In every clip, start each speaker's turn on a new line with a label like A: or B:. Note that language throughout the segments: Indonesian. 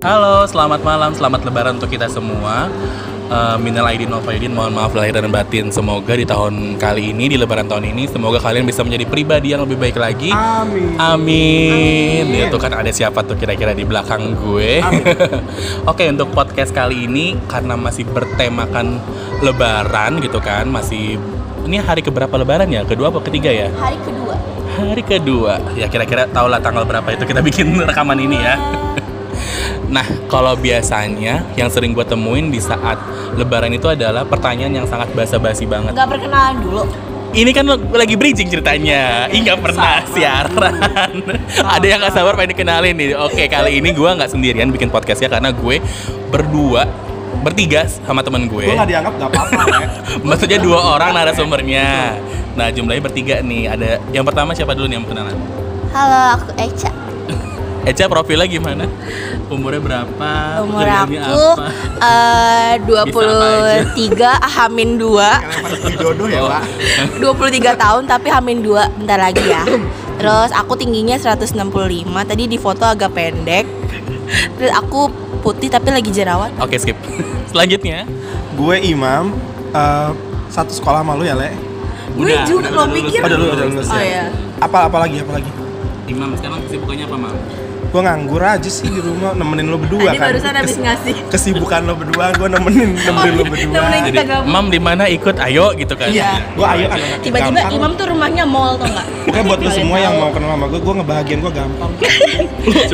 A: Halo, selamat malam, selamat lebaran untuk kita semua. Eh, minal aidin wal faidin, mohon maaf lahir dan batin. Semoga di tahun kali ini, di lebaran tahun ini, semoga kalian bisa menjadi pribadi yang lebih baik lagi.
B: Amin.
A: Amin.
B: Amin.
A: Itu kan ada siapa tuh kira-kira di belakang gue. Oke, untuk podcast kali ini karena masih bertemakan lebaran gitu kan, masih ini hari keberapa lebaran ya? Kedua apa ketiga ya?
C: Hari kedua.
A: Hari kedua. Ya kira-kira tahulah tanggal berapa itu kita bikin rekaman ini ya. Nah, kalau biasanya yang sering gue temuin di saat lebaran itu adalah pertanyaan yang sangat basa-basi banget.
C: Nggak perkenalan dulu.
A: Ini kan lo- lagi bridging ceritanya. Ih nggak pernah siaran. Ada yang nggak sabar pengen dikenalin nih. Oke kali ini gue nggak sendirian bikin podcastnya karena gue berdua bertiga sama temen
B: Gue
A: gue.
B: nggak dianggap nggak apa-apa. ya.
A: Maksudnya dua orang narasumbernya. Nah jumlahnya bertiga nih. Ada yang pertama siapa dulu nih yang kenalan?
C: Halo, aku Eca.
A: Eca profilnya gimana? Umurnya berapa?
C: Umur
A: Kerjaannya
C: aku
A: apa?
C: eh, 23 ah, Hamin 2
B: Lempar ke jodoh ya pak.
C: 23 tahun tapi Hamin 2 Bentar lagi ya Terus aku tingginya 165 Tadi di foto agak pendek Terus aku putih tapi lagi jerawat
A: Oke skip. Selanjutnya.
B: Gue Imam. eh, satu sekolah malu ya le.
C: Gue
A: Udah,
C: juga
A: udah,
C: lo
A: udah lulus,
C: mikir
B: Udah dulu udah lulus
C: Oh,
B: ya.
C: iya.
B: Apa apa lagi apa lagi?
A: Imam sekarang kesibukannya apa, Mam?
B: Gue nganggur aja sih di rumah nemenin lo berdua
C: Tadi
B: kan.
C: barusan habis
B: Kes-
C: ngasih
B: Kesibukan lo berdua, gue nemenin nemenin lo berdua.
C: Nemenin kita gabung.
A: Mam di mana ikut? Ayo gitu kan.
B: Iya, gue ayo ayo.
C: Tiba-tiba
B: Gampang.
C: Imam Iya, tuh rumahnya mall tau nggak?
B: Pokoknya buat lo
C: Kalian
B: semua yang
C: tahu.
B: mau kenal sama gue, gue ngebahagian gue gampang.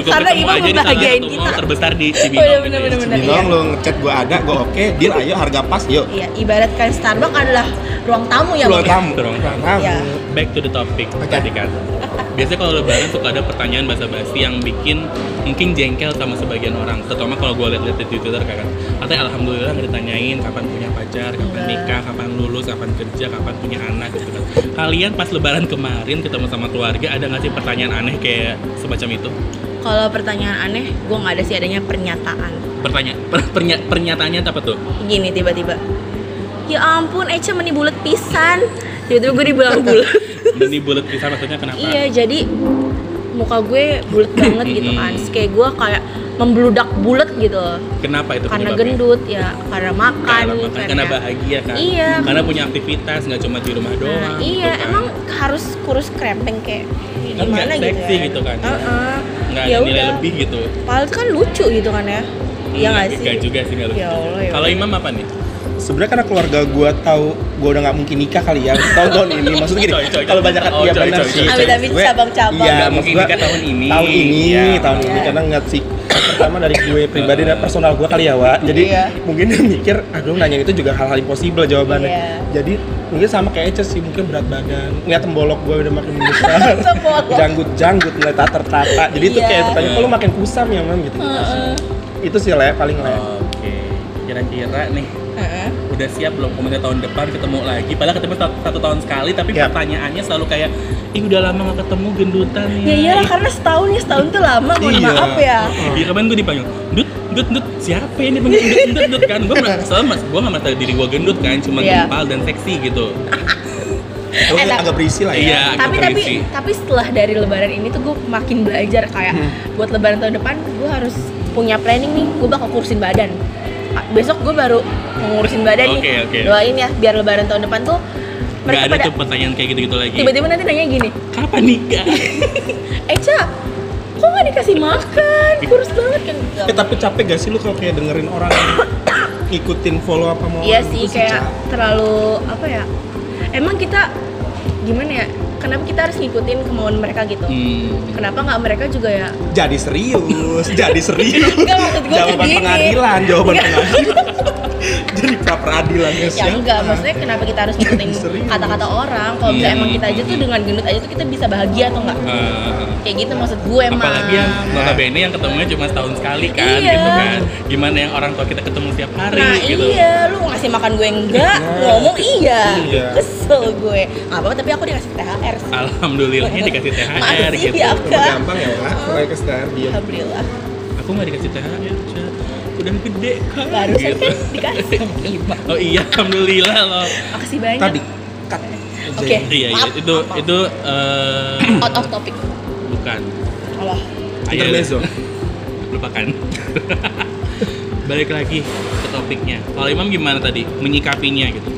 A: Cukup
C: Karena
A: ketemu
C: Imam
A: aja di salah
C: membahagiain
A: satu
C: kita.
A: mall terbesar di
C: Iya,
A: Cibinong. gitu ya.
C: bener-bener. Bener,
B: Bilang lo ngechat gue ada, gue oke. Deal ayo harga pas yuk.
C: Iya, ibaratkan Starbucks adalah ruang tamu yang
B: Lo tamu.
A: Ruang tamu.
B: Tamu.
C: Iya.
A: Back to the topic
B: Oke.
A: tadi kan. Biasanya kalau lebaran suka ada pertanyaan basa-basi yang bikin mungkin jengkel sama sebagian orang. Terutama kalau gue lihat-lihat di Twitter kan. Katanya alhamdulillah nggak ditanyain kapan punya pacar, kapan
C: Iya.
A: nikah, kapan lulus, kapan kerja, kapan punya anak gitu kan. Kalian pas lebaran kemarin ketemu sama keluarga ada nggak sih pertanyaan aneh kayak semacam itu?
C: Kalau pertanyaan aneh, gue nggak ada sih adanya pernyataan.
A: Pertanyaan per- pernya- pernyataannya apa tuh?
C: Gini tiba-tiba, ya ampun Echa meni bulat pisan. Tiba-tiba gue dibilang bulat.
A: Ini bulat pisah maksudnya kenapa?
C: iya, jadi muka gue bulat banget gitu kan. Terus kayak gue kayak membludak bulat gitu. loh.
A: Kenapa itu
C: Karena
A: penyebabnya?
C: gendut ya, karena makan,
A: Karena makan, karena bahagia kan.
C: Iya.
A: Karena punya aktivitas nggak cuma di rumah doang.
C: Nah,
A: gitu
C: iya,
A: kan.
C: emang harus kurus krempeng kayak
A: Kan
C: gimana
A: nggak
C: gitu
A: seksi
C: ya.
A: gitu kan.
C: Heeh.
A: nggak ada
C: Ya
A: nilai
C: udah.
A: lebih gitu.
C: Padahal kan lucu gitu kan ya. Iya nggak sih?
A: Nggak juga sih nggak lebih.
C: Ya Allah, ya
A: Kalau
C: Allah.
A: Imam apa nih?
B: sebenarnya karena keluarga gue tahu gue udah nggak mungkin nikah kali ya tahun tahun ini maksudnya gini
A: Coy, coy, coy.
B: kalau banyak
A: Oh,
B: ya
A: coy,
B: benar
A: coy,
B: sih
A: coy, coy.
C: Amit-amit
B: Gue-
C: cabang-cabang.
B: iya,
A: Nggak
B: maksud
A: mungkin
B: gue
A: nikah tahun ini.
B: tahun ini
A: Iya.
B: tahun ini
C: Iya.
B: karena nggak sih pertama dari gue pribadi dan personal gue kali ya wa jadi
C: Iya.
B: mungkin dia mikir ah gue nanya itu juga hal-hal impossible jawabannya
C: Iya.
B: jadi mungkin sama kayak Eces sih mungkin berat badan ngeliat tembolok gue udah makin besar
C: Tembolok.
B: janggut janggut mulai tater tata jadi itu
C: Iya.
B: kayak tanya kok lu makin kusam ya mam gitu
C: Heeh.
B: itu sih le paling le
A: Oke. Kira-kira nih
C: Heeh.
A: udah siap belum kemudian tahun depan ketemu lagi padahal ketemu satu, satu tahun sekali tapi
B: Iya.
A: pertanyaannya selalu kayak ih udah lama gak ketemu gendutan ya
C: Ya iyalah karena setahun ya setahun tuh lama mohon
B: Iya.
C: maaf ya.
A: Iya kemarin gue dipanggil, dut, dut, dut, siapa yang dipanggil dut, dut, dut kan? Gue merasa, soalnya mas, gue gak merasa diri gue gendut kan, cuma
C: Iya. Ah,
A: gempal dan seksi gitu.
B: Tapi
C: Enak.
B: agak berisi lah ya
A: Iya, agak
C: Tapi tapi
A: berisi.
C: tapi setelah dari lebaran ini tuh gue makin belajar kayak
B: Hmm.
C: buat lebaran tahun depan gue harus punya planning nih gue bakal kurusin badan. Ah, Besok gue baru ngurusin badan
A: Oke,
C: nih.
A: oke.
C: Doain ya biar lebaran tahun depan tuh
A: Gak
C: mereka
A: ada
C: pada
A: tuh pertanyaan kayak gitu-gitu lagi.
C: tiba-tiba nanti nanya gini,
A: Kapan nikah?
C: Eca, kok gak dikasih makan? Kurus banget kan?
B: Eh tapi capek gak sih lu kalau kayak dengerin orang ngikutin follow apa mau?
C: Iya
B: orang
C: sih
B: gitu
C: kayak
B: capek.
C: terlalu apa ya? Emang kita gimana ya? Kenapa kita harus ngikutin kemauan mereka gitu?
A: hmm.
C: Kenapa nggak mereka juga ya?
B: jadi serius, jadi serius.
C: Enggak, maksud gua
B: jawaban
C: gini.
B: pengadilan, jawaban pengadilan. jadi pra peradilan ya
C: Ya
B: siapa?
C: enggak, maksudnya kenapa kita harus ngikutin
B: Serius.
C: kata-kata orang? Kalau misalnya
A: Hmm.
C: emang kita aja tuh dengan gendut aja tuh kita bisa bahagia atau enggak?
A: Eh,
C: Kayak gitu maksud gue emang.
A: apalagi yang notabene yang ketemunya cuma setahun sekali kan
C: Iya.
A: gitu kan gimana yang orang tua kita ketemu tiap hari
C: Nah
A: gitu
C: iya, lu ngasih makan gue enggak,
B: Nah.
C: ngomong iya.
B: Iya.
C: Kesel gue. Gak apa-apa, tapi aku dikasih THR sih.
A: alhamdulillahnya dikasih THR
C: Masih
A: gitu
C: ya.
B: Cuma gampang ya lah, mulai ke standar dia.
C: Alhamdulillah.
A: aku nggak dikasih THR Cak. udah gede kan
C: Barusan
A: gitu.
C: kan dikasih sama Iba.
A: oh iya alhamdulillah loh
C: Makasih banyak.
B: Tadi cut.
C: Oke.
A: iya iya
C: Maaf,
A: itu
C: maaf.
A: itu eh,
C: Out of topic.
A: bukan
C: Allah.
A: Ayo.
B: Intermezzo.
A: lupakan. Balik lagi ke topiknya. Kalau Imam gimana tadi menyikapinya gitu?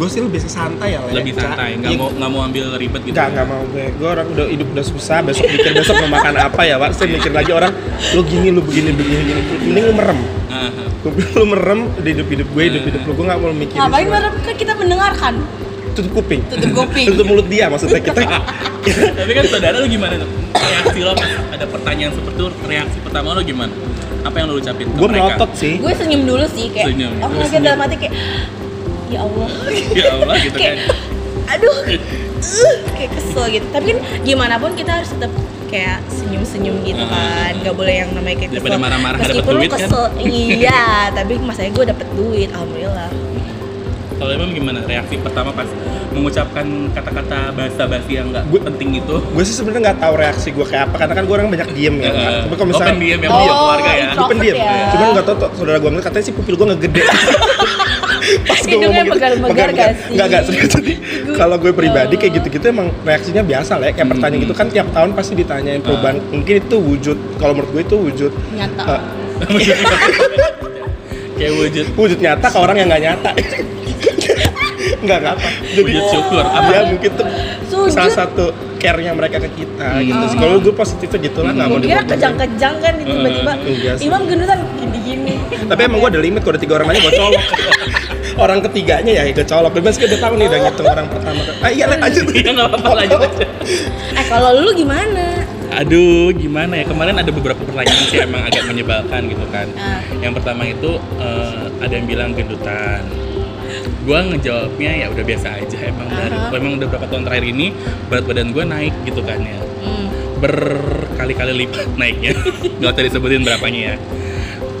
B: gue sih lebih santai ya Le.
A: Lebih
B: Ca-
A: santai, nggak
B: Iya,
A: mau nggak mau ambil ribet gitu.
B: Enggak, enggak mau gue. Gue orang udah hidup udah susah, besok mikir besok mau makan apa ya, Wak. Saya mikir lagi orang, lu gini, lu begini, begini, gini. Mending lu merem.
A: Aha.
B: Lu, lu merem, udah hidup-hidup gue, hidup-hidup lu. Gue gak mau mikirin
C: Ngapain
B: semua.
C: merem kan kita mendengarkan.
B: Tutup kuping.
C: Tutup kuping.
B: Tutup mulut dia, maksudnya kita.
A: Tapi kan saudara lu gimana tuh? Reaksi lo pas ada pertanyaan seperti itu, reaksi pertama lo gimana? Apa yang lo ucapin ke
B: gue
A: mereka?
B: melotot sih.
C: Gue senyum dulu sih kayak.
A: Senyum, terus
C: Aku kayak
A: senyum.
C: dalam hati kayak ya Allah.
A: Ya Allah gitu kan.
C: Kayak, Aduh. uh, kayak kesel gitu. Tapi kan gimana pun kita harus tetap kayak senyum-senyum gitu
A: Ah.
C: kan. Gak boleh yang namanya kayak
A: Daripada marah-marah, dapet
C: Meskipun lu
A: duit kan?
C: kesel. Iya, tapi masalahnya gue dapet duit, alhamdulillah.
A: Kalau emang gimana reaksi pertama pas mengucapkan kata-kata basa-basi yang nggak
B: Gua-
A: penting itu?
B: Gue sih sebenarnya nggak tahu reaksi gue kayak apa, karena kan gue orang banyak diem ya. Kak. Tapi kalau misalnya
A: Eh, Open diam yang punya keluarga ya.
B: gue pendiam,
C: introvert ya.
B: cuman nggak tahu tuh, saudara gue ngeliat katanya sih pupil gue ngegede. Pas gua
C: Hidungnya
B: gitu,
C: pegal-pegal
B: pegal-pegal.
C: gak sih? Oh.
B: Nggak, nggak, serius. Jadi kalau gue pribadi kayak gitu-gitu emang reaksinya biasa lah ya. Kayak
A: Hmm.
B: pertanyaan gitu kan tiap tahun pasti ditanyain perubahan. Mungkin itu wujud, kalau menurut gue itu wujud.
C: Nyata.
B: eh,
A: Kayak wujud
B: wujud nyata ke orang yang nggak nyata. Nggak, nggak apa. Jadi
A: wujud syukur. Apa?
B: ya mungkin tuh
C: Sujud. Oh.
B: salah satu care-nya mereka ke kita
A: Hmm.
B: gitu sih. Kalau gue positifnya gitu lah, nggak mau
C: Gue kira
B: dibodohin.
C: kejang-kejang kan nih, tiba-tiba
B: Eh, iya sih.
C: Imam gendutan gini-gini
B: Tapi emang gue ada limit, kalau ada tiga orang aja gue colok Orang ketiganya ya gue colok, bebas gue udah tau nih udah ngitung orang pertama Ah iya, Le, lanjut
A: Iya nggak apa-apa lanjut aja.
C: Eh kalau lu gimana?
A: Aduh, gimana ya? Kemarin ada beberapa pertanyaan sih emang agak menyebalkan gitu kan.
C: Ah.
A: Yang pertama itu eh, ada yang bilang gendutan. Gua ngejawabnya ya udah biasa aja emang. Dan
C: Aha.
A: emang udah berapa tahun terakhir ini berat badan gua naik gitu kan ya.
C: Hmm.
A: Berkali-kali lipat naiknya. Gak usah disebutin berapanya ya.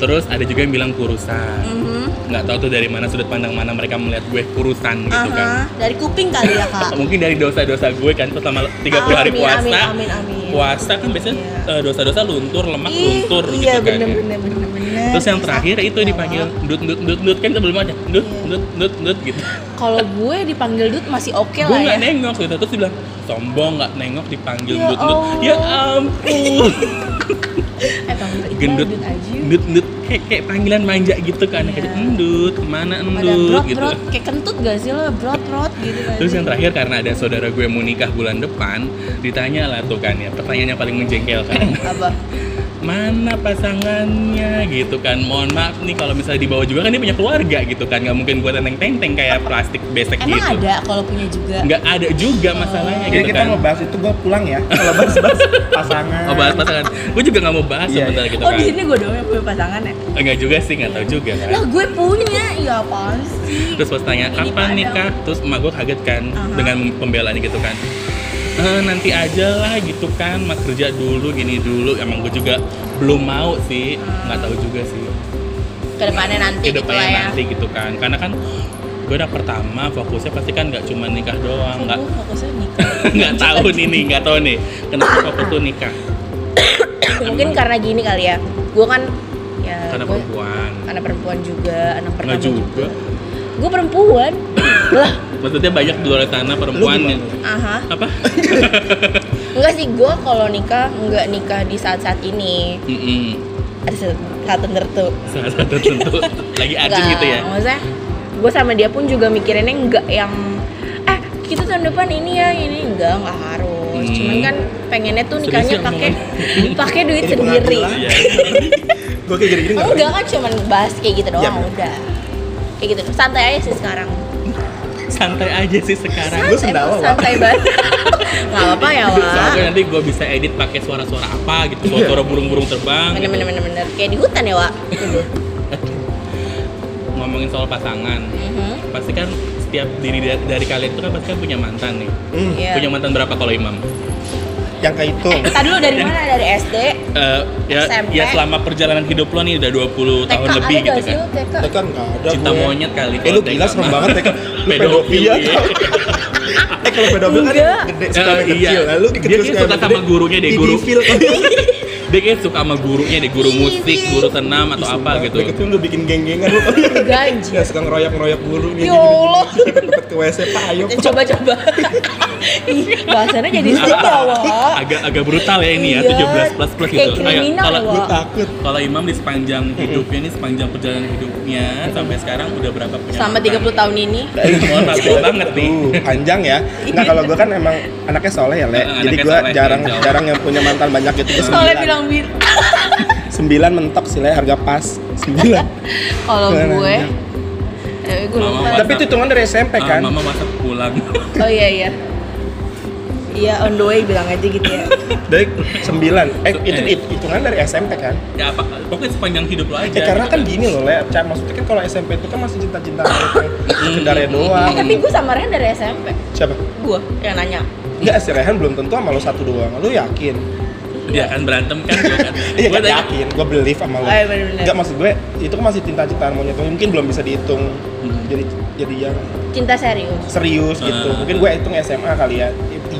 A: Terus ada juga yang bilang kurusan.
C: Mhm.
A: Nggak tahu tuh dari mana sudut pandang mana mereka melihat gue kurusan gitu
C: Aha,
A: kan.
C: dari kuping kali ya kak.
A: Mungkin dari dosa-dosa gue kan tuh selama 30 hari
C: Amin,
A: puasa
C: amin, amin, amin.
A: puasa kan biasanya
C: Iya.
A: eh, dosa-dosa luntur, lemak
C: Ih,
A: luntur
C: iya,
A: gitu kan. ya.
C: bener, bener, bener, bener.
A: Terus yang terakhir itu
C: Sakit
A: dipanggil
C: banget.
A: dut dut dut dut kan sebelum aja dut
C: Iya.
A: dut dut dut gitu.
C: Kalau gue dipanggil Dut masih oke
A: Gue
C: lah ya.
A: nggak nengok gitu terus dia bilang sombong nggak nengok dipanggil
C: Ya
A: dut dut.
C: Allah.
A: Ya ampun.
C: Eh panggil Iqbal,
A: Gendut
C: Dut aja.
A: dut dut kayak, kayak panggilan manja gitu kan
C: Iya.
A: kayak endut kemana
C: Pada
A: endut
C: brot
A: gitu.
C: brot kayak kentut gak sih lo brot brot gitu tadi.
A: Terus yang terakhir karena ada saudara gue mau nikah bulan depan ditanya lah tuh kan ya pertanyaan yang paling menjengkelkan.
C: apa?
A: mana pasangannya gitu kan mohon maaf nih kalau misalnya dibawa juga kan dia punya keluarga gitu kan nggak mungkin gue tenteng tenteng kayak plastik besek
C: Emang
A: gitu
C: ada kalau punya juga.
A: nggak ada juga masalahnya
B: Jadi
A: gitu
B: Oh. Iya, kita
A: kan
B: mau bahas itu gue pulang ya Kalau bahas-bahas pasangan
A: oh bahas pasangan gue juga nggak mau bahas
B: Iya,
A: sebentar gitu
C: Oh
A: kan
C: di sini gue doang yang punya pasangan ya.
A: enggak juga sih nggak tahu juga kan
C: Lah gue punya, ya apaan sih?
A: terus pas tanya
C: Ini
A: kapan
C: padahal.
A: nikah terus emak gue kaget kan
C: Aha.
A: dengan pembelaan gitu kan "Eh, nanti aja lah gitu kan mak kerja dulu gini dulu emang gue juga belum mau sih nggak tahu juga sih
C: Kedepannya nanti
A: Kedepannya
C: gitu lah ya.
A: nanti gitu kan karena kan gue udah pertama fokusnya pasti kan nggak cuma nikah doang
C: Kok
A: nggak
C: Gue fokusnya nikah.
A: nggak tahu nih nih nggak tahu nih kenapa fokus tuh nikah
C: Mungkin karena gini kali ya. Gue kan ya
A: karena
C: gue
A: perempuan
C: anak perempuan juga, anak pertama
A: nggak juga
C: Gue perempuan. lah,
A: maksudnya banyak di luar sana perempuan
B: Lu
A: yang
B: gimana?
C: aha.
A: apa
C: Enggak sih, gue kalau nikah nggak nikah di saat-saat ini.
A: Mm-mm.
C: Ada saat- saat tertentu.
A: salah satu tentu lagi ajin
C: Nggak,
A: gitu ya
C: Maksudnya, gue sama dia pun juga mikirinnya nggak yang eh kita tahun depan ini ya ini enggak nggak harus.
A: Hmm.
C: Cuman kan pengennya tuh
A: Serius
C: nikahnya
A: ya
C: pakai pakai duit
B: Jadi
C: sendiri.
B: pengadilan.
A: Iya.
B: Gue kayak gini-gini gak
C: Enggak kan cuman bahas kayak gitu doang
B: Iya.
C: udah. Kayak gitu. Santai aja sih sekarang.
A: santai aja sih sekarang
B: Lu sendawa, Wak.
C: santai banget. Enggak apa-apa ya, Wak.
A: soalnya nanti gue bisa edit pakai suara-suara apa gitu
B: Iya.
A: suara burung-burung terbang gitu.
C: Bener-bener bener kayak di hutan ya, Wak.
A: ngomongin soal pasangan
C: Mhm.
A: pasti kan setiap diri dari, dari kalian itu kan pasti kan punya mantan nih
B: Hmm,
C: Iya.
A: punya mantan berapa kalau imam
B: Yang kayak itu
C: Tadi lu dari mana? Dari SD?
A: Eh, ya,
C: SMP.
A: ya selama perjalanan hidup lo nih udah 20 tahun
C: TK
A: lebih
C: ada
A: gitu
C: gak sih
A: kan.
C: lu TK?
B: Itu kan nggak ada
A: Cinta
B: gue.
A: monyet kali.
B: Eh lu gila serem banget ya kan Lu pedofil
A: Pedofilia.
B: ya Eh kalau pedofil kan
C: Enggak.
B: gede suka yang kecil Lalu
A: Dia kayaknya suka sama gurunya deh, guru. Dia kayak suka sama gurunya deh, guru musik, guru senam atau apa gitu.
B: Dari kecil udah bikin geng-gengan lu
C: Enggak anjir.
B: Ya suka ngeroyok-ngeroyok guru dia gini-gini.
C: Ya
B: kan
C: Allah. Ya, Eh,
B: Pepet ke WC E, Pak ayo Pak.
C: Coba-coba. Ih, Bahasanya jadi stigma, ya, Wak.
A: agak agak brutal ya ini ya,
C: Oh. Iya,
A: 17 plus plus
C: kayak
A: gitu.
C: kriminal
A: kalau
C: loh.
B: Gue takut.
A: kalau Imam di sepanjang hidupnya ini sepanjang perjalanan hidupnya sampai sekarang udah berapa punya?
D: Selama 30 tahun ini
A: Mohon maaf tua banget nih.
B: Uh, panjang ya. Nah kalau gue kan emang anaknya soleh ya, Le.
A: Heeh,
B: Jadi
A: anaknya
B: gue
A: soleh,
B: jarang
A: jauh.
B: jarang yang punya mantan banyak gitu. Gua
C: Soalnya
B: sembilan.
C: bilang bir.
B: Sembilan mentok sih, Le. Harga pas. Sembilan.
C: Kalau
B: Keren
C: gue,
B: aja.
C: eh, gue
A: Mama
C: lupa.
A: Masa-
B: Tapi itu hitungan dari SMP
A: Ah,
B: kan.
A: mama masak pulang.
C: Oh iya iya. Iya on the way bilang aja gitu ya.
B: Dari sembilan. Eh
A: Eh.
B: itu hit- hitungan dari SMP kan.
A: ya apa? Pokoknya sepanjang hidup lo aja.
B: Eh,
C: Iya,
B: karena
A: gitu
B: kan gini loh, Le. Cah, maksudnya kan kalau SMP itu kan masih cinta-cinta Kendaraan
C: Eh,
B: doang.
C: tapi gue sama Rehan dari SMP.
B: Siapa?
C: Gue yang nanya.
B: Enggak sih Rehan belum tentu sama lo satu doang. Lu yakin?
A: Dia kan berantem kan. dia kan.
B: Iya
A: Gua
B: kan
A: tanya,
B: yakin. Gue believe sama lo.
C: Oh, iya, bener-bener.
B: Enggak maksud gue itu kan masih cinta-cintaan mau nyetung mungkin belum bisa dihitung.
A: Hmm.
B: Jadi jadi yang
C: Cinta serius.
B: serius gitu.
A: Ah.
B: Mungkin gue hitung SMA kali ya.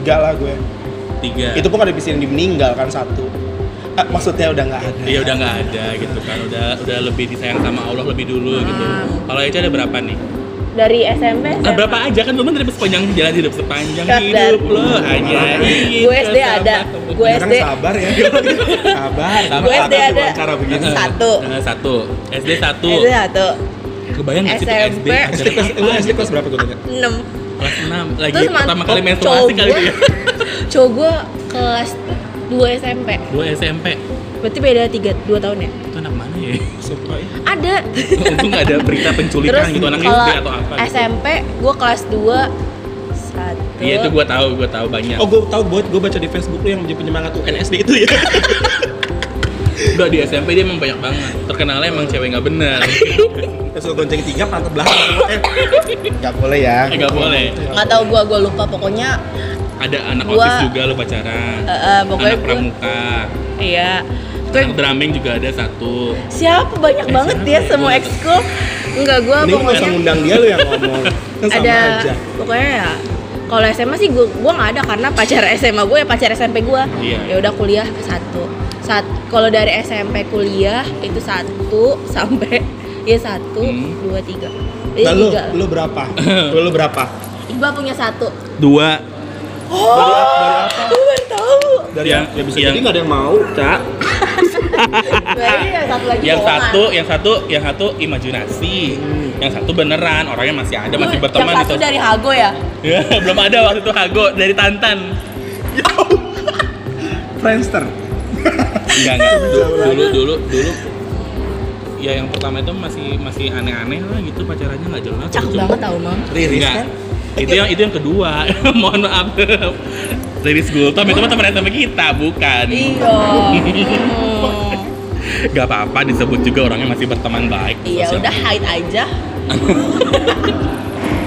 B: Tiga lah gue.
C: Ya.
A: tiga.
B: Itu pun ada bisa yang meninggal kan satu. Ah, maksudnya udah nggak ada.
A: Iya udah nggak ada gitu kan. Udah udah lebih disayang sama Allah lebih dulu gitu. Kalau Eca ada berapa nih?
C: Dari SMP.
A: Nah,
C: SMA.
A: berapa aja kan lu kan dari sepanjang jalan hidup sepanjang
C: Cut
A: hidup lo hanya
C: Gue SD ada. Gue
B: Sekarang
C: SD.
B: sabar ya. sabar.
C: Gue SD ada.
B: Cara begini.
C: Satu.
A: Eh, satu. SD satu.
C: Itu satu.
A: Kebayang nggak sih tuh
C: SMP.
A: SD
B: SD
A: acara
B: kelas, lu
A: apa?
B: SD kelas berapa gue tanya?
C: Enam.
A: Kelas 6 lagi
C: Terus
A: pertama
C: mantep,
A: kali menstruasi
C: cowok
A: kali itu
C: gue-
A: ya.
C: Cowok gue kelas 2 SMP.
A: Gue SMP.
C: Berarti beda 3 2 tahun ya?
A: Itu anak mana ya?
B: Sumpah, ih.
C: Ada.
A: Untung nggak ada berita penculikan
C: Terus
A: gitu anak
C: kalau
A: SD atau apa. gitu.
C: SMP gue kelas 2 satu.
A: Iya itu gue tahu, gue tahu banyak.
B: Oh gue tau buat gue baca di Facebook lu yang jadi penyemangat UNSD
A: gitu
B: itu ya.
A: Udah di SMP dia emang banyak banget. Terkenalnya emang cewek nggak bener.
B: Terus gonceng tiga pantat belakang. Eh, Gak boleh ya.
A: Eh, nggak boleh.
C: Nggak tahu gue, gue lupa pokoknya
A: Ada anak
C: Gua-
A: autis juga lo pacaran.
C: eh, eh, pokoknya
A: anak
C: gue
A: pramuka.
C: iya. Gue
A: Anak drumming juga ada satu.
C: siapa banyak
A: Eh,
C: banget
A: siapa?
C: ya semua ekskul. Enggak gue
B: Ini nggak usah
C: pokoknya
B: ngundang dia lu yang ngomong. Kan sama
C: ada
B: aja.
C: pokoknya ya kalau SMA sih gue gue nggak ada karena pacar SMA gue ya pacar SMP gue
A: Iya.
C: ya udah kuliah satu saat kalau dari SMP kuliah itu satu sampai ya satu
A: Hmm.
C: dua tiga
B: Nah,
C: Jadi
B: lu,
C: tiga
B: lu berapa? Lu, lu berapa?
C: gue punya satu
A: Dua.
B: Dari, dari apa?
C: gue Oh, baru tahu
B: Dari
A: Yang-
B: ya bisa
A: yang-
B: jadi nggak ada yang mau, Cak.
C: berarti Nah, yang satu lagi
A: Yang
C: bohongan.
A: satu, yang satu, yang satu imajinasi. Yang satu beneran, orangnya masih ada,
C: Lu
A: masih berteman gitu.
C: yang satu dari Hago ya
A: Ya, belum ada waktu itu Hago dari Tantan.
B: Friendster.
A: Enggak, enggak. Dulu, dulu, dulu, dulu. Ya yang pertama itu masih masih aneh-aneh lah gitu pacarannya nggak jelas.
C: cakep banget tau mam
B: Riris
A: Enggak.
B: kan?
A: Itu yang itu yang kedua. Mohon maaf. Riris Gultom itu mah teman sama kita, bukan.
C: iya
A: Gak apa-apa disebut juga orangnya masih berteman baik.
C: iya
A: Sosial.
C: udah hide aja
A: Nah,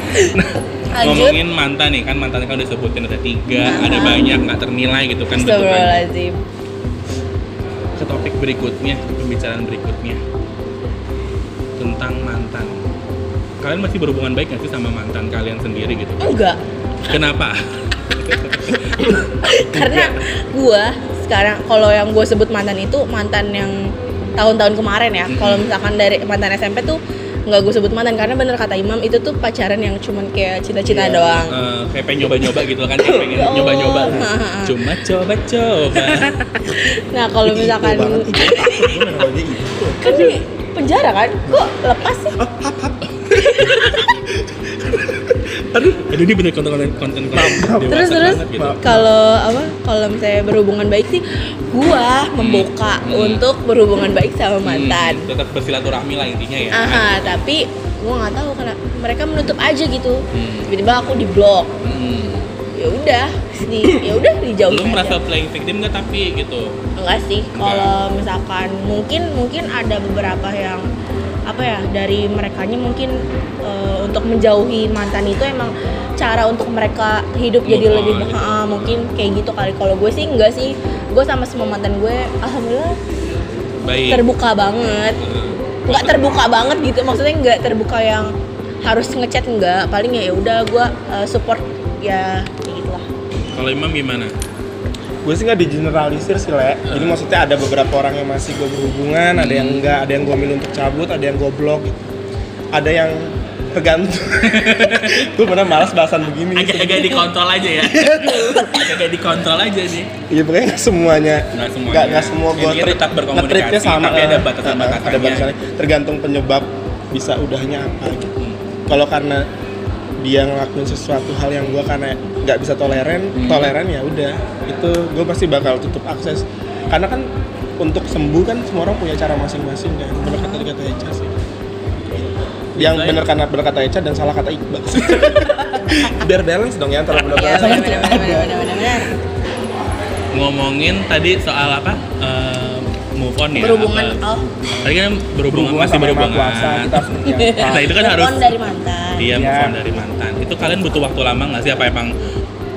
C: lanjut
A: Ngomongin mantan nih kan mantan kan udah sebutin ada tiga,
C: Aha.
A: ada banyak nggak ternilai gitu kan bentukannya.
C: Astagfirullahaladzim
A: ke topik berikutnya, ke pembicaraan berikutnya tentang mantan. Kalian masih berhubungan baik nggak sih sama mantan kalian sendiri gitu?
C: enggak
A: Kenapa? Iya.
C: karena gua sekarang kalau yang gue sebut mantan itu mantan yang tahun-tahun kemarin ya
A: Mm-mm.
C: kalau misalkan dari mantan SMP tuh nggak gue sebut mantan karena bener kata Imam itu tuh pacaran yang cuman kayak cita-cita
B: Iya.
C: doang
A: Eh, kayak pengen nyoba-nyoba gitu kan, kayak pengen
C: Ya Allah.
A: nyoba-nyoba. Cuma coba-coba.
C: nah kalau
B: Ih,
C: misalkan
B: ibu banget, ibu takut. Gua nggak tahu dia gitu. ibu.
C: kan di penjara kan kok lepas sih
B: Oh, hap, hap.
A: Aduh, aduh ini bener konten-konten konten
B: Maaf.
A: dewasa
C: terus terus
A: banget gitu.
C: kalau apa kalau misalnya berhubungan baik sih gua membuka
A: Hmm.
C: untuk berhubungan baik sama mantan
A: Hmm, tetap bersilaturahmi lah intinya ya.
C: Aha, tapi gue nggak tahu karena mereka menutup aja gitu.
A: Hmm.
C: Tiba-tiba aku di blok.
A: Hmm.
C: Ya udah, di ya udah ya. dijauhin.
A: Lu
C: aja.
A: merasa playing victim nggak tapi gitu?
C: enggak sih? Kalau misalkan mungkin mungkin ada beberapa yang apa ya dari merekanya mungkin eh, untuk menjauhi mantan itu emang cara untuk mereka hidup jadi
A: Move
C: lebih
A: on, gitu.
C: Ah, mungkin kayak gitu kali kalau gue sih enggak sih gue sama semua mantan gue alhamdulillah
A: Baik.
C: terbuka banget
A: Eh,
C: nggak terbuka banget gitu maksudnya nggak terbuka yang harus ngechat nggak paling ya udah gue support ya kayak gitu lah
A: Kalau Imam gimana?
B: Gue sih nggak digeneralisir sih, Le. Jadi maksudnya ada beberapa orang yang Hmm. masih gue berhubungan, ada yang enggak, ada yang gue milih untuk cabut, ada yang gue blok gitu. Ada yang tergantung gue pernah malas bahasan begini
A: agak-agak dikontrol aja ya agak-agak dikontrol aja nih
B: Iya pokoknya nggak semuanya,
A: Nggak semuanya.
B: nggak nggak semua gue
A: Intinya tetap berkomunikasi,
B: sama,
A: tapi ada
B: eh,
A: batasan-batasannya.
B: eh, ada batasannya. Tergantung penyebab bisa udahnya apa. Gitu.
A: Hmm.
B: Kalau karena dia ngelakuin sesuatu hal yang gue karena nggak bisa toleren,
A: Hmm.
B: toleran ya udah itu gue pasti bakal tutup akses. Karena kan untuk sembuh kan semua orang punya cara masing-masing kan. Bener kata kata Echa sih. Yang
A: Baik.
B: bener karena bener kata Echa dan salah kata Iqbal. Biar balance dong ya antara bener
D: Iya,
B: kata sama
D: benar benar benar benar benar, benar.
A: ngomongin tadi soal apa eh, move on ya
C: berhubungan
A: apa?
C: oh
A: tadi kan berhubungan
B: berhubungan
A: masih
B: sama yang maha
A: berhubungan
B: kuasa kita harus menyapa.
A: nah itu kan
C: move
A: harus
C: on dari mantan
A: dia move
B: Iya.
A: on dari mantan itu kalian butuh waktu lama nggak sih apa emang lo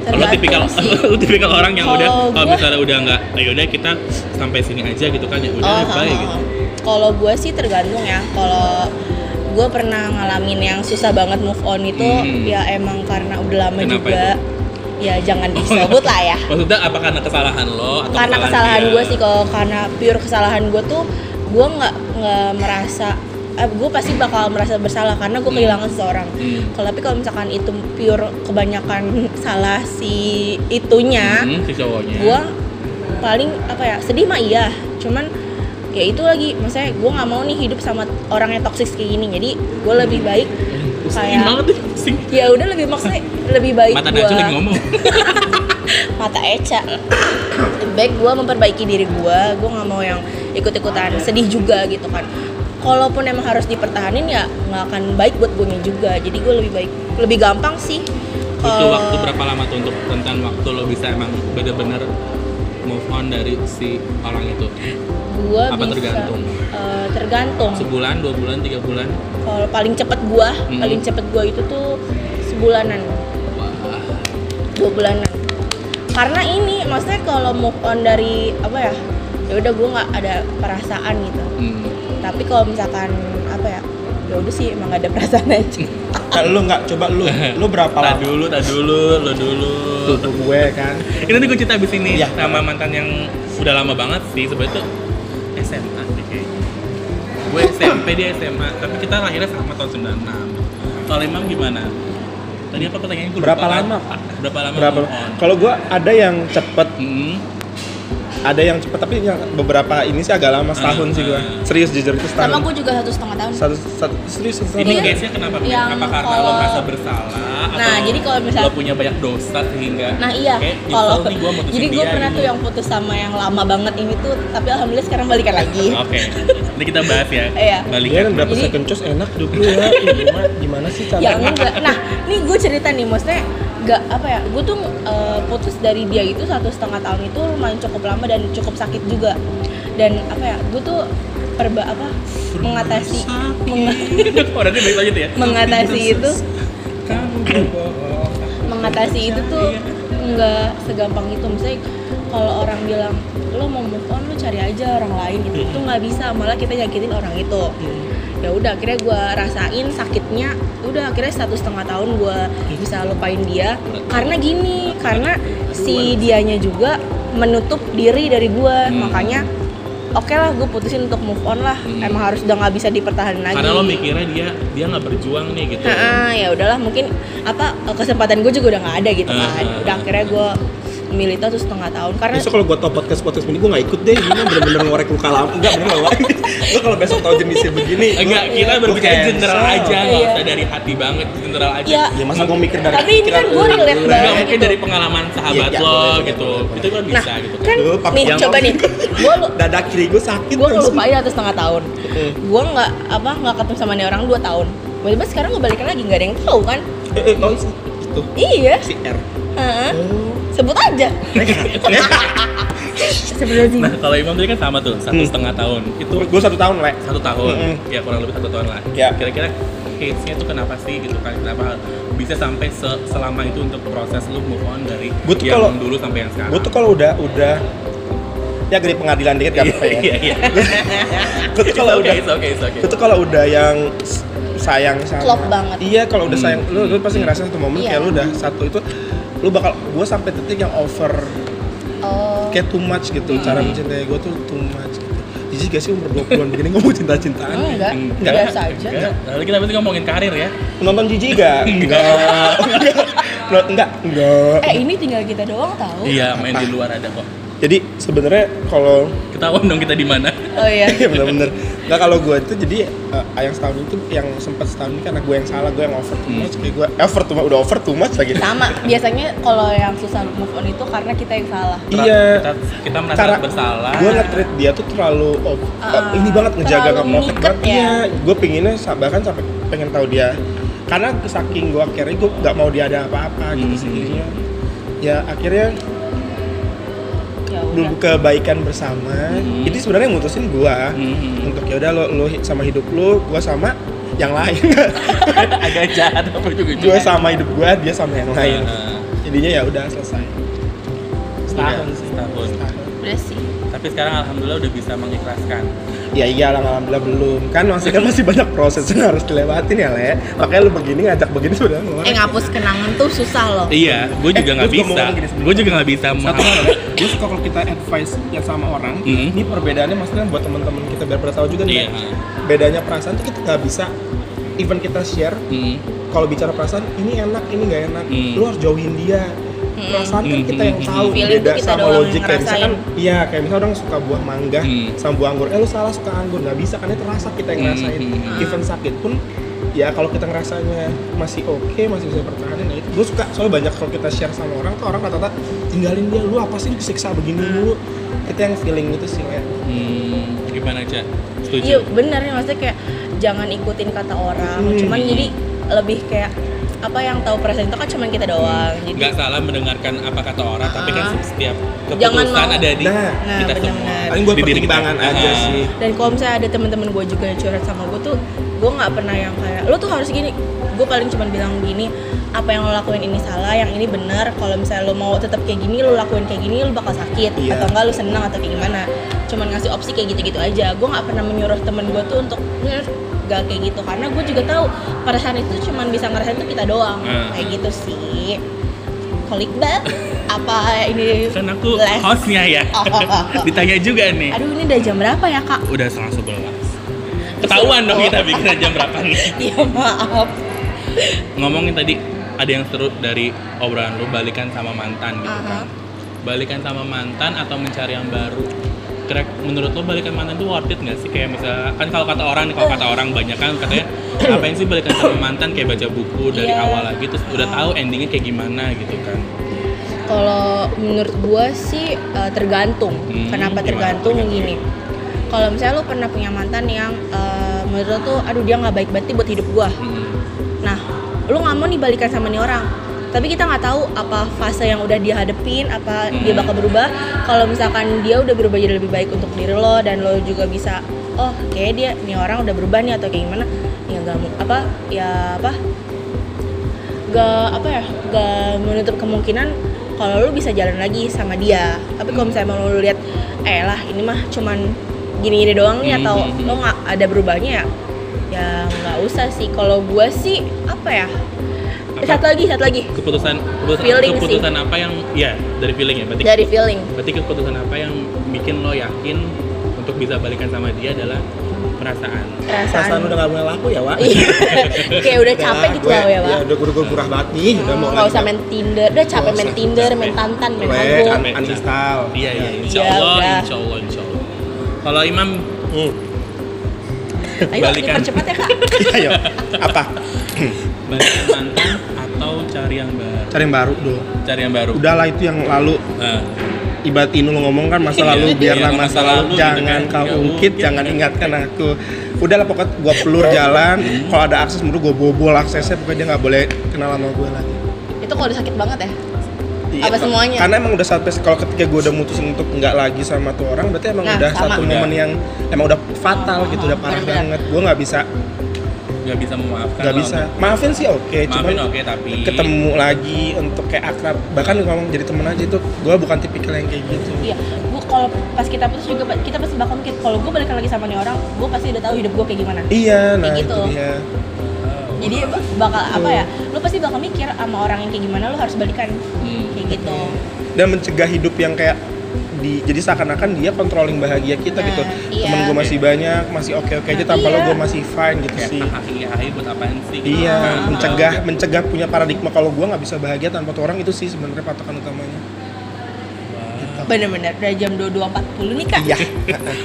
D: Tergantung
A: tipikal
D: sih.
A: lo tipikal orang yang udah
C: Kalau
A: kalau
C: gua-
A: misalnya udah nggak ayo udah kita sampai sini aja gitu kan ya udah
C: Oh,
A: ya, bye
C: oh,
A: gitu
C: oh. Kalau gue sih tergantung ya. Kalau gue pernah ngalamin yang susah banget move on itu
A: Hmm.
C: ya emang karena udah lama
A: Kenapa Oh,
C: juga. Ya jangan disebut lah ya.
A: maksudnya apa karena kesalahan lo atau
C: Karena kesalahan
A: dia?
C: gue sih kalau karena pure kesalahan gue tuh gue nggak nggak merasa eh, gue pasti bakal merasa bersalah karena gue
A: Hmm.
C: kehilangan seseorang.
A: Hmm.
C: Kalau tapi kalau misalkan itu pure kebanyakan salah si itunya,
A: Hmm, si cowoknya
C: gua paling apa ya sedih mah iya cuman ya itu lagi maksudnya gua nggak mau nih hidup sama orang yang toksik kayak gini jadi gua lebih baik
A: pusing
C: kayak
A: banget nih pusing
C: ya udah lebih maksudnya lebih baik
A: mata
C: gua
A: Najwa lagi ngomong
C: mata eca Lebih baik gua memperbaiki diri gua gua nggak mau yang ikut-ikutan sedih juga gitu kan kalaupun emang harus dipertahanin ya nggak akan baik buat guanya juga jadi gua lebih baik lebih gampang sih
A: butuh
C: eh,
A: waktu berapa lama tuh untuk rentan waktu lo bisa emang bener-bener move on dari si orang itu
C: gua
A: apa
C: bisa,
A: tergantung?
C: eh, tergantung
A: sebulan dua bulan tiga bulan
C: kalau paling cepet gua
A: Hmm.
C: paling cepet gua itu tuh sebulanan
A: wah
C: dua bulanan karena ini maksudnya kalau move on dari apa ya ya udah gua nggak ada perasaan gitu
A: hmm.
C: tapi kalau misalkan apa ya ya udah sih emang gak ada perasaan aja
A: Hmm.
B: Kalau lu nggak coba lu, lu berapa
A: tak
B: lama?
A: dulu tak dulu lo dulu
B: Tuh gue kan.
A: ini nanti gue cerita abis ini
B: Iya.
A: sama mantan yang udah lama banget sih sebenarnya tuh SMA deh kayaknya gue SMP dia SMA tapi kita lahirnya sama tahun 96 kalau emang gimana tadi apa pertanyaannya gue lupa
B: Berapa
A: kan?
B: lama, Pak?
A: berapa lama
B: Berapa?
A: move on?
B: Kalau gue ada yang cepet,
A: Hmm.
B: ada yang cepet tapi yang beberapa ini sih agak lama setahun sih
A: Ah.
B: gue. Serius jujur itu
D: sama
B: setahun.
D: gue juga satu setengah tahun
B: Satu, satu, serius satu
A: Ini
B: tahun.
A: case-nya kenapa? Min?
C: yang
A: Apa karena lo
C: kalau-
A: merasa bersalah?
C: Nah,
A: atau
C: jadi kalau misal-
A: lo punya banyak dosa sehingga
C: nah iya
A: kayak nyesel
C: kalau
A: nih gua mutusin
C: jadi gue
A: dia
C: pernah
A: gitu.
C: tuh yang putus sama yang lama banget ini tuh tapi alhamdulillah sekarang balikan lagi
A: Oke, nanti kita bahas ya.
C: Iya.
B: Dia
A: Balikan.
B: kan berapa
C: Jadi-
B: second choice enak hidup lu ya. Ih, gimana- Gimana sih cara?
C: ya enggak nah ini gue cerita nih maksudnya nggak apa ya gue tuh eh, putus dari dia itu satu setengah tahun itu lumayan cukup lama dan cukup sakit juga dan apa ya gue tuh perba apa mengatasi meng-
B: kan?
A: oh, nanti balik lanjut ya.
C: mengatasi itu mengatasi itu tuh
A: Iya.
C: nggak segampang itu maksudnya kalau orang bilang lo mau move on lo cari aja orang lain gitu itu nggak bisa malah kita nyakitin orang itu
A: Hmm.
C: ya udah akhirnya gue rasain sakitnya udah akhirnya satu setengah tahun gue
A: Hmm.
C: bisa lupain dia karena gini karena si dianya juga menutup diri dari gue
A: Hmm.
C: makanya oke lah gue putusin untuk move on lah
A: Hmm.
C: emang harus udah nggak bisa dipertahankan lagi
A: Karena lo mikirnya dia dia nggak berjuang nih gitu.
C: Nah, ya udahlah mungkin apa eh, kesempatan gue juga udah nggak ada gitu kan.
A: Ah.
C: Udah akhirnya gue milih tuh setengah tahun karena
B: Besok kalau gue tau podcast podcast ini gue nggak ikut deh. Ini bener-bener ngorek luka lama. Enggak bener nggak, Wak. Lu kalau besok tau jenisnya begini. lu-
A: Enggak, kita
B: lu
A: berbicara
B: cancel.
A: general aja, nggak
C: Iya.
A: usah dari hati banget, general aja.
C: ya
B: Ya masa gue mikir dari
C: Tapi ini kan
B: pikiran
C: gua
B: lu,
C: relate
B: lu,
A: Enggak
C: banget.
A: mungkin dari pengalaman sahabat
B: Iya, iya,
A: lo
B: boleh, boleh,
A: gitu.
B: boleh, boleh.
A: Itu kan
C: nah
A: bisa gitu kan.
C: kan
B: Lu pakai
C: nih
B: yang-
C: coba nih gue lu
B: Dada kiri gue
A: Gitu.
B: sakit.
C: gue
B: langsung.
C: lupain satu setengah tahun
B: Mm.
C: gue nggak apa nggak ketemu sama nih orang dua tahun tiba sekarang gue balikan lagi nggak ada yang tahu kan
B: Eh, eh, tau sih. Itu
C: iya
B: si R. Eh,
C: Heeh. sebut aja sebenarnya
A: Nah, kalau Imam tadi kan sama tuh, satu
B: Hmm.
A: setengah tahun. Itu
B: gue satu tahun lek
A: satu tahun
B: Mm-mm.
A: ya kurang lebih satu tahun lah
B: Ya.
A: kira-kira case-nya tuh kenapa sih gitu kan kenapa bisa sampai se- selama itu untuk proses lu move on dari
B: Gua tuh
A: yang
B: kalau-
A: dulu sampai yang sekarang
B: gue tuh kalau udah udah ya dari pengadilan dikit gak apa
A: iya
B: ya
A: iya iya
B: gue tuh
C: Iya,
B: kalau udah
A: it's okay it's okay
B: gue tuh kalau udah yang s- sayang sama
C: Klop banget.
B: iya kalau udah
A: Hmm.
B: sayang lu, lu pasti ngerasa satu momen
C: Iya.
B: kayak lu udah satu itu lu bakal gue sampai titik yang over
C: oh Hmm.
B: kayak too much gitu cara mencintai gue tuh too much gitu jijik gak sih umur 20-an begini ngomong cinta-cintaan?
C: Oh, enggak
A: Enggak.
C: biasa aja
A: Enggak. Lalu kita berarti ngomongin karir ya.
B: Penonton jijik gak? Enggak. Enggak. Enggak. Enggak.
C: eh ini tinggal kita doang tahu
A: Iya, main di luar ada kok.
B: Jadi sebenarnya kalau
A: Ketahuan dong kita di mana.
C: oh iya
B: Iya bener-bener Nah kalau gue itu jadi eh, yang setahun itu yang sempat setahun ini karena gue yang salah gue yang over too much kayak gue over too much udah over too much lagi
A: Iya.
C: sama biasanya kalau yang susah move on itu karena kita yang salah
A: Kita,
B: iya
A: kita merasa bersalah.
B: gue nge-treat dia tuh terlalu oh,
C: Ah,
B: ini banget ngejaga
C: terlalu
B: nggak protek
C: mengikat
B: banget
C: ya.
B: iya gue pinginnya sa- bahkan sampai pengen tahu dia karena saking gue akhirnya gue nggak mau dia ada apa-apa gitu
A: Hmm.
B: sih jadinya. ya akhirnya
C: ya udah
B: dulu kebaikan bersama
A: Hmm.
B: jadi sebenarnya yang mutusin gue
A: Hmm.
B: untuk ya udah lo, lo hi- sama hidup lo gue sama yang lain
A: Agak jahat apa juga Iya, eh,
B: gue sama hidup gue dia sama yang lain
A: Heeh.
B: jadinya ya udah selesai setahun
A: Udah,
B: sih
A: iya, setahun.
B: Setahun.
D: udah sih
A: Tapi sekarang alhamdulillah udah bisa mengikhlaskan.
B: ya iya lah alhamdulillah belum kan masih kan masih banyak proses yang harus dilewatin ya le makanya lu begini ngajak begini sebenarnya mau
D: eh ngapus kenangan tuh susah loh
A: Iya, gue juga
B: Eh,
A: nggak
B: gua juga mau
A: bisa.
B: ngomong gini sebentar.
A: Gue juga nggak bisa.
B: satu
A: menghapus-
B: hal ya, gue suka kalau kita advice ya sama orang
A: Mm.
B: ini perbedaannya maksudnya buat teman-teman kita biar pada tahu juga nih
A: Iya.
B: Le. bedanya perasaan tuh kita nggak bisa even kita share
A: Hmm.
B: kalau bicara perasaan ini enak ini nggak enak
A: Hmm.
B: lu harus jauhin dia perasaan kan
A: Hmm,
B: kita
A: hmm,
B: yang
A: hmm,
B: tahu
A: hmm.
D: Feeling
B: beda
D: tuh kita
B: sama
D: doang yang
B: logik kayak misalkan
D: ngerasain.
B: iya kayak misalnya orang suka buah mangga
A: Hmm.
B: sama buah anggur eh lu salah suka anggur nggak bisa karena terasa kita yang
A: Hmm,
B: ngerasain
A: hmm, hmm.
B: even sakit pun ya kalau kita ngerasanya masih oke masih bisa bertahan nah itu gue suka soalnya banyak kalau kita share sama orang tuh orang kata-kata tinggalin dia lu apa sih disiksa begini dulu kita yang feeling itu sih Le.
A: Hmm. Gimana aja? Setuju.
C: Iya bener nih maksudnya kayak jangan ikutin kata orang.
B: Hmm.
C: Cuman jadi lebih kayak apa yang tahu perasaan itu kan cuman kita doang. Jadi
A: nggak salah mendengarkan apa kata orang, tapi kan setiap
C: Ah. Jangan
A: keputusan
C: mau-
A: ada di
B: Nah.
C: Nah,
A: kita semua.
C: benar-benar.
B: paling gue
A: Di diri kita.
B: pertimbangan aja
A: Ah.
B: sih
C: dan kalau misalnya ada teman-teman gue juga yang curhat sama gue tuh gue nggak pernah yang kayak lo tuh harus gini gue paling cuman bilang gini apa yang lo lakuin ini salah yang ini benar kalau misalnya lo mau tetap kayak gini lo lakuin kayak gini lo bakal sakit
B: Iya.
C: atau enggak lo senang atau kayak gimana cuman ngasih opsi kayak gitu-gitu aja gue nggak pernah menyuruh temen gue tuh untuk "Nger, nggak kayak gitu karena gue juga tahu pada saat itu cuman bisa ngerasain tuh kita doang
A: Hmm.
C: kayak gitu sih kalau Iqbal apa ini
A: Kan aku
C: les?
A: hostnya ya.
C: Oh, oh, oh, oh.
A: Ditanya juga nih.
C: aduh ini udah jam berapa ya kak
A: Udah setengah sebelas. Ketahuan dong kita bikin jam berapa nih.
C: ya maaf
A: Ngomongin tadi ada yang seru dari obrolan lu balikan sama mantan
C: Ah.
A: gitu kan. Balikan sama mantan atau mencari yang baru? Kira menurut lo balikan mantan itu worth it nggak sih? Kayak misalnya kan kalau kata orang nih, kalau kata orang banyak kan katanya ngapain sih balikan sama mantan kayak baca buku dari
C: Iya.
A: awal lagi terus udah tahu endingnya kayak gimana gitu kan.
C: Kalau menurut gua sih eh, tergantung.
A: Hmm,
C: Kenapa
A: gimana?
C: tergantung
A: Tergantung.
C: gini? Kalau misalnya lu pernah punya mantan yang eh, menurut lu tuh, aduh dia nggak baik banget nih buat hidup gua.
A: Hmm.
C: Nah, lu nggak mau nih balikan sama nih orang. Tapi kita nggak tahu apa fase yang udah dia hadepin, apa
A: Hmm.
C: dia bakal berubah. Kalau misalkan dia udah berubah jadi lebih baik untuk diri lo dan lo juga bisa, oh kayak dia nih orang udah berubah nih atau kayak gimana? Ya nggak mu- apa ya apa? Gak apa ya? Gak menutup kemungkinan kalau lu bisa jalan lagi sama dia. Tapi kalau misalnya emang lu lihat, eh lah ini mah cuman gini-gini doang nih atau
A: Hmm.
C: lo nggak ada berubahnya ya ya nggak usah sih kalau gue sih apa ya
A: Apa?
C: satu lagi satu lagi
A: Keputusan keputusan,
C: Feeling sih.
A: keputusan apa yang ya dari feeling ya berarti.
C: dari feeling
A: Berarti keputusan apa yang bikin lo yakin untuk bisa balikan sama dia adalah perasaan.
B: perasaan
C: perasaan
B: udah gak boleh laku ya wak
C: Iya. kayak udah capek gitu lah ya pak
B: Iya, udah gue udah murah banget nih udah mau
C: nggak usah main tinder udah capek
B: Nggak
C: main
B: usah,
C: tinder main
A: capek.
C: tantan main
B: Boleh,
C: hago
B: kan uninstall.
A: Iya, iya, insya
C: Iya,
A: Allah,
C: udah.
A: insya Allah, insya Allah. Kalau Imam
B: Hmm.
C: ayo
A: Balikan.
C: dipercepat ya kak
B: Iya, Ayo, apa?
A: balikan mantan atau cari yang baru?
B: Cari yang baru dong.
A: Cari yang baru.
B: Udahlah itu yang lalu
A: Eh,
B: ibatin lu ngomong kan masa lalu
A: Iya,
B: biarlah
A: iya,
B: masa
A: masa lalu
B: lalu
A: gitu
B: jangan
A: kan.
B: kau
A: Nggak
B: ungkit
A: mungkin.
B: jangan ingatkan aku udahlah pokoknya gua pelur jalan
A: Iya.
B: kalau ada akses menurut gua bobol aksesnya pokoknya dia nggak boleh kenal sama gua lagi
C: itu kalau udah sakit banget ya
B: Iya.
C: Apa semuanya?
B: karena emang udah sampai kalau ketika gua udah mutusin untuk nggak lagi sama tuh orang berarti emang
C: Nah,
B: udah
C: sama. Nah,
B: satu
A: Udah.
B: momen yang emang udah fatal gitu udah parah
C: Benar-benar.
B: banget gua nggak bisa
A: nggak bisa memaafkan.
B: nggak
A: lo.
B: bisa maafin sih oke
A: Nah,
B: cuman
A: Maafin oke, tapi
B: ketemu lagi untuk kayak akrab bahkan ngomong jadi temen aja itu gue bukan tipikal yang kayak gitu
C: iya gue kalau pas kita putus juga kita pasti bakal mikir kalau gue balikan lagi sama nih orang gue pasti udah tahu hidup gue kayak gimana
B: iya nah
C: Kayak gitu.
B: itu dia
C: jadi
A: Iya.
C: bakal apa ya lo pasti bakal mikir sama orang yang kayak gimana lo harus balikan
A: Hmm.
C: kayak gitu
B: dan mencegah hidup yang kayak di jadi seakan-akan dia controlling bahagia kita
C: Nah,
B: gitu
C: iya.
B: temen gue masih banyak masih oke oke aja tanpa lo
C: Iya.
B: gue masih fine gitu
A: kayak
B: sih
A: ah, iya iya, buat apaan sih gitu
C: ah,
B: Iya,
A: kan.
B: mencegah mencegah punya paradigma kalau gua nggak bisa bahagia tanpa tuh orang itu sih sebenarnya patokan utamanya.
A: iya.
D: Bener-bener udah jam 22.40 nih kak.
B: Iya.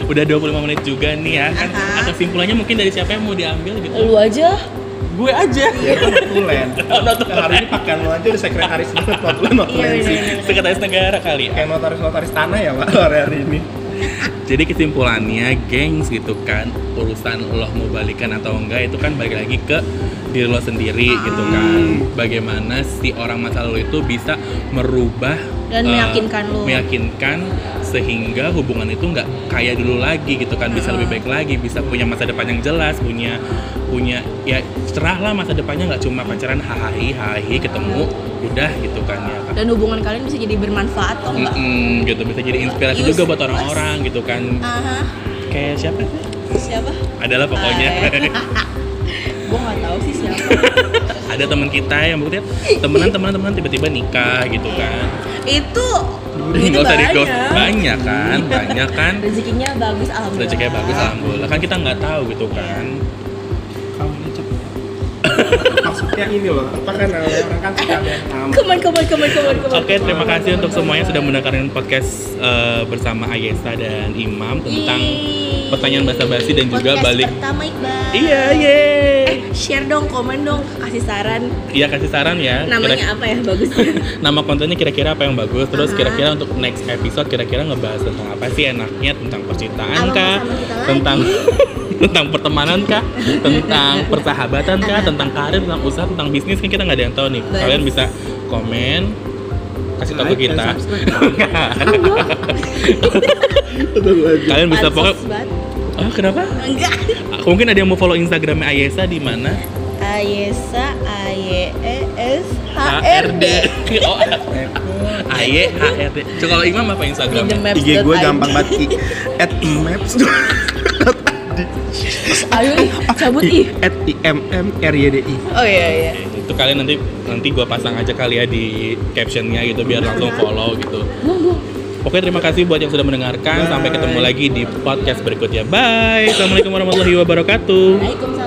A: udah 25 menit juga nih ya kan
D: Aha.
A: kesimpulannya mungkin dari siapa yang mau diambil gitu
C: Lu aja Iya.
A: gue aja
B: Ya kan notulen. Hari ini pakaian lo aja udah sekretaris banget notulen notulen
C: Iya,
B: sih.
C: bener-bener.
A: sekretaris negara kali ya
B: Kayak notaris notaris tanah ya pak hari hari ini.
A: jadi kesimpulannya gengs gitu kan urusan lo mau balikan atau enggak itu kan balik lagi ke diri lo sendiri
C: Ah.
A: gitu kan bagaimana si orang masa lalu itu bisa merubah
C: Dan
A: eh,
C: meyakinkan lo.
A: meyakinkan sehingga hubungan itu nggak kayak dulu lagi gitu kan bisa
C: Ah.
A: lebih baik lagi bisa punya masa depan yang jelas punya punya ya cerah lah masa depannya nggak cuma pacaran hahahi hahahi ketemu udah gitu kan ya kan
C: dan hubungan kalian bisa jadi bermanfaat kok mbak.
A: Mm-mm, gitu bisa jadi inspirasi juga buat orang-orang gitu kan
C: Aha,
A: kayak siapa sih?
C: siapa?
A: adalah pokoknya
C: Gue nggak tahu sih siapa.
A: ada teman kita yang berarti temenan temenan temenan tiba-tiba nikah gitu kan
C: Itu
A: nggak usah di
C: gitu banyak.
A: banyak kan banyak kan
C: rezekinya bagus alhamdulillah.
A: rezekinya bagus alhamdulillah kan kita nggak tahu gitu kan
B: Kalau ini cepet. Maksudnya ini loh, apa kan namanya orang kan suka ada yang tamu.
C: Kemen kemen kemen kemen kemen.
A: Oke, terima kasih untuk semuanya sudah mendengarkan podcast eh, bersama Ayesa dan Imam tentang
C: Yeay.
A: pertanyaan basa-basi dan juga
C: Podcast
A: balik.
C: pertama Iqbal.
A: Iya, yeay.
C: Eh, share dong, komen dong, kasih saran
A: Iya kasih saran ya. Kira-
C: namanya apa ya bagusnya.
A: nama kontennya kira-kira apa yang bagus terus
C: Aha.
A: kira-kira untuk next episode kira-kira ngebahas tentang apa sih enaknya tentang percintaan
C: Abang
A: kah
C: bersama kita lagi.
A: tentang tentang pertemanan kah tentang persahabatan kah tentang karir tentang usaha tentang bisnis kan kita nggak ada yang tahu nih
C: Baik.
A: kalian bisa komen kasih tahu
B: Like
A: ke
B: and
A: kita
B: subscribe.
A: kalian Kan bisa pokoknya
C: Pansos banget.
A: ah kenapa
C: Enggak.
A: mungkin ada yang mau follow instagramnya Ayesa di mana
C: Ayesa A Y E S H R D.
A: HRD oh Aye HRD So, kalau Imam apa instagramnya
C: Maps.
B: IG gue gampang banget Ki. at maps
C: Ayo ih, cabut ih.
B: at i m m r y d i
C: Oh iya iya.
A: itu kalian nanti nanti gua pasang aja kali ya di captionnya gitu biar langsung follow gitu oke terima kasih buat yang sudah mendengarkan sampai ketemu lagi di podcast berikutnya bye assalamualaikum warahmatullahi wabarakatuh
C: Waalaikumsalam.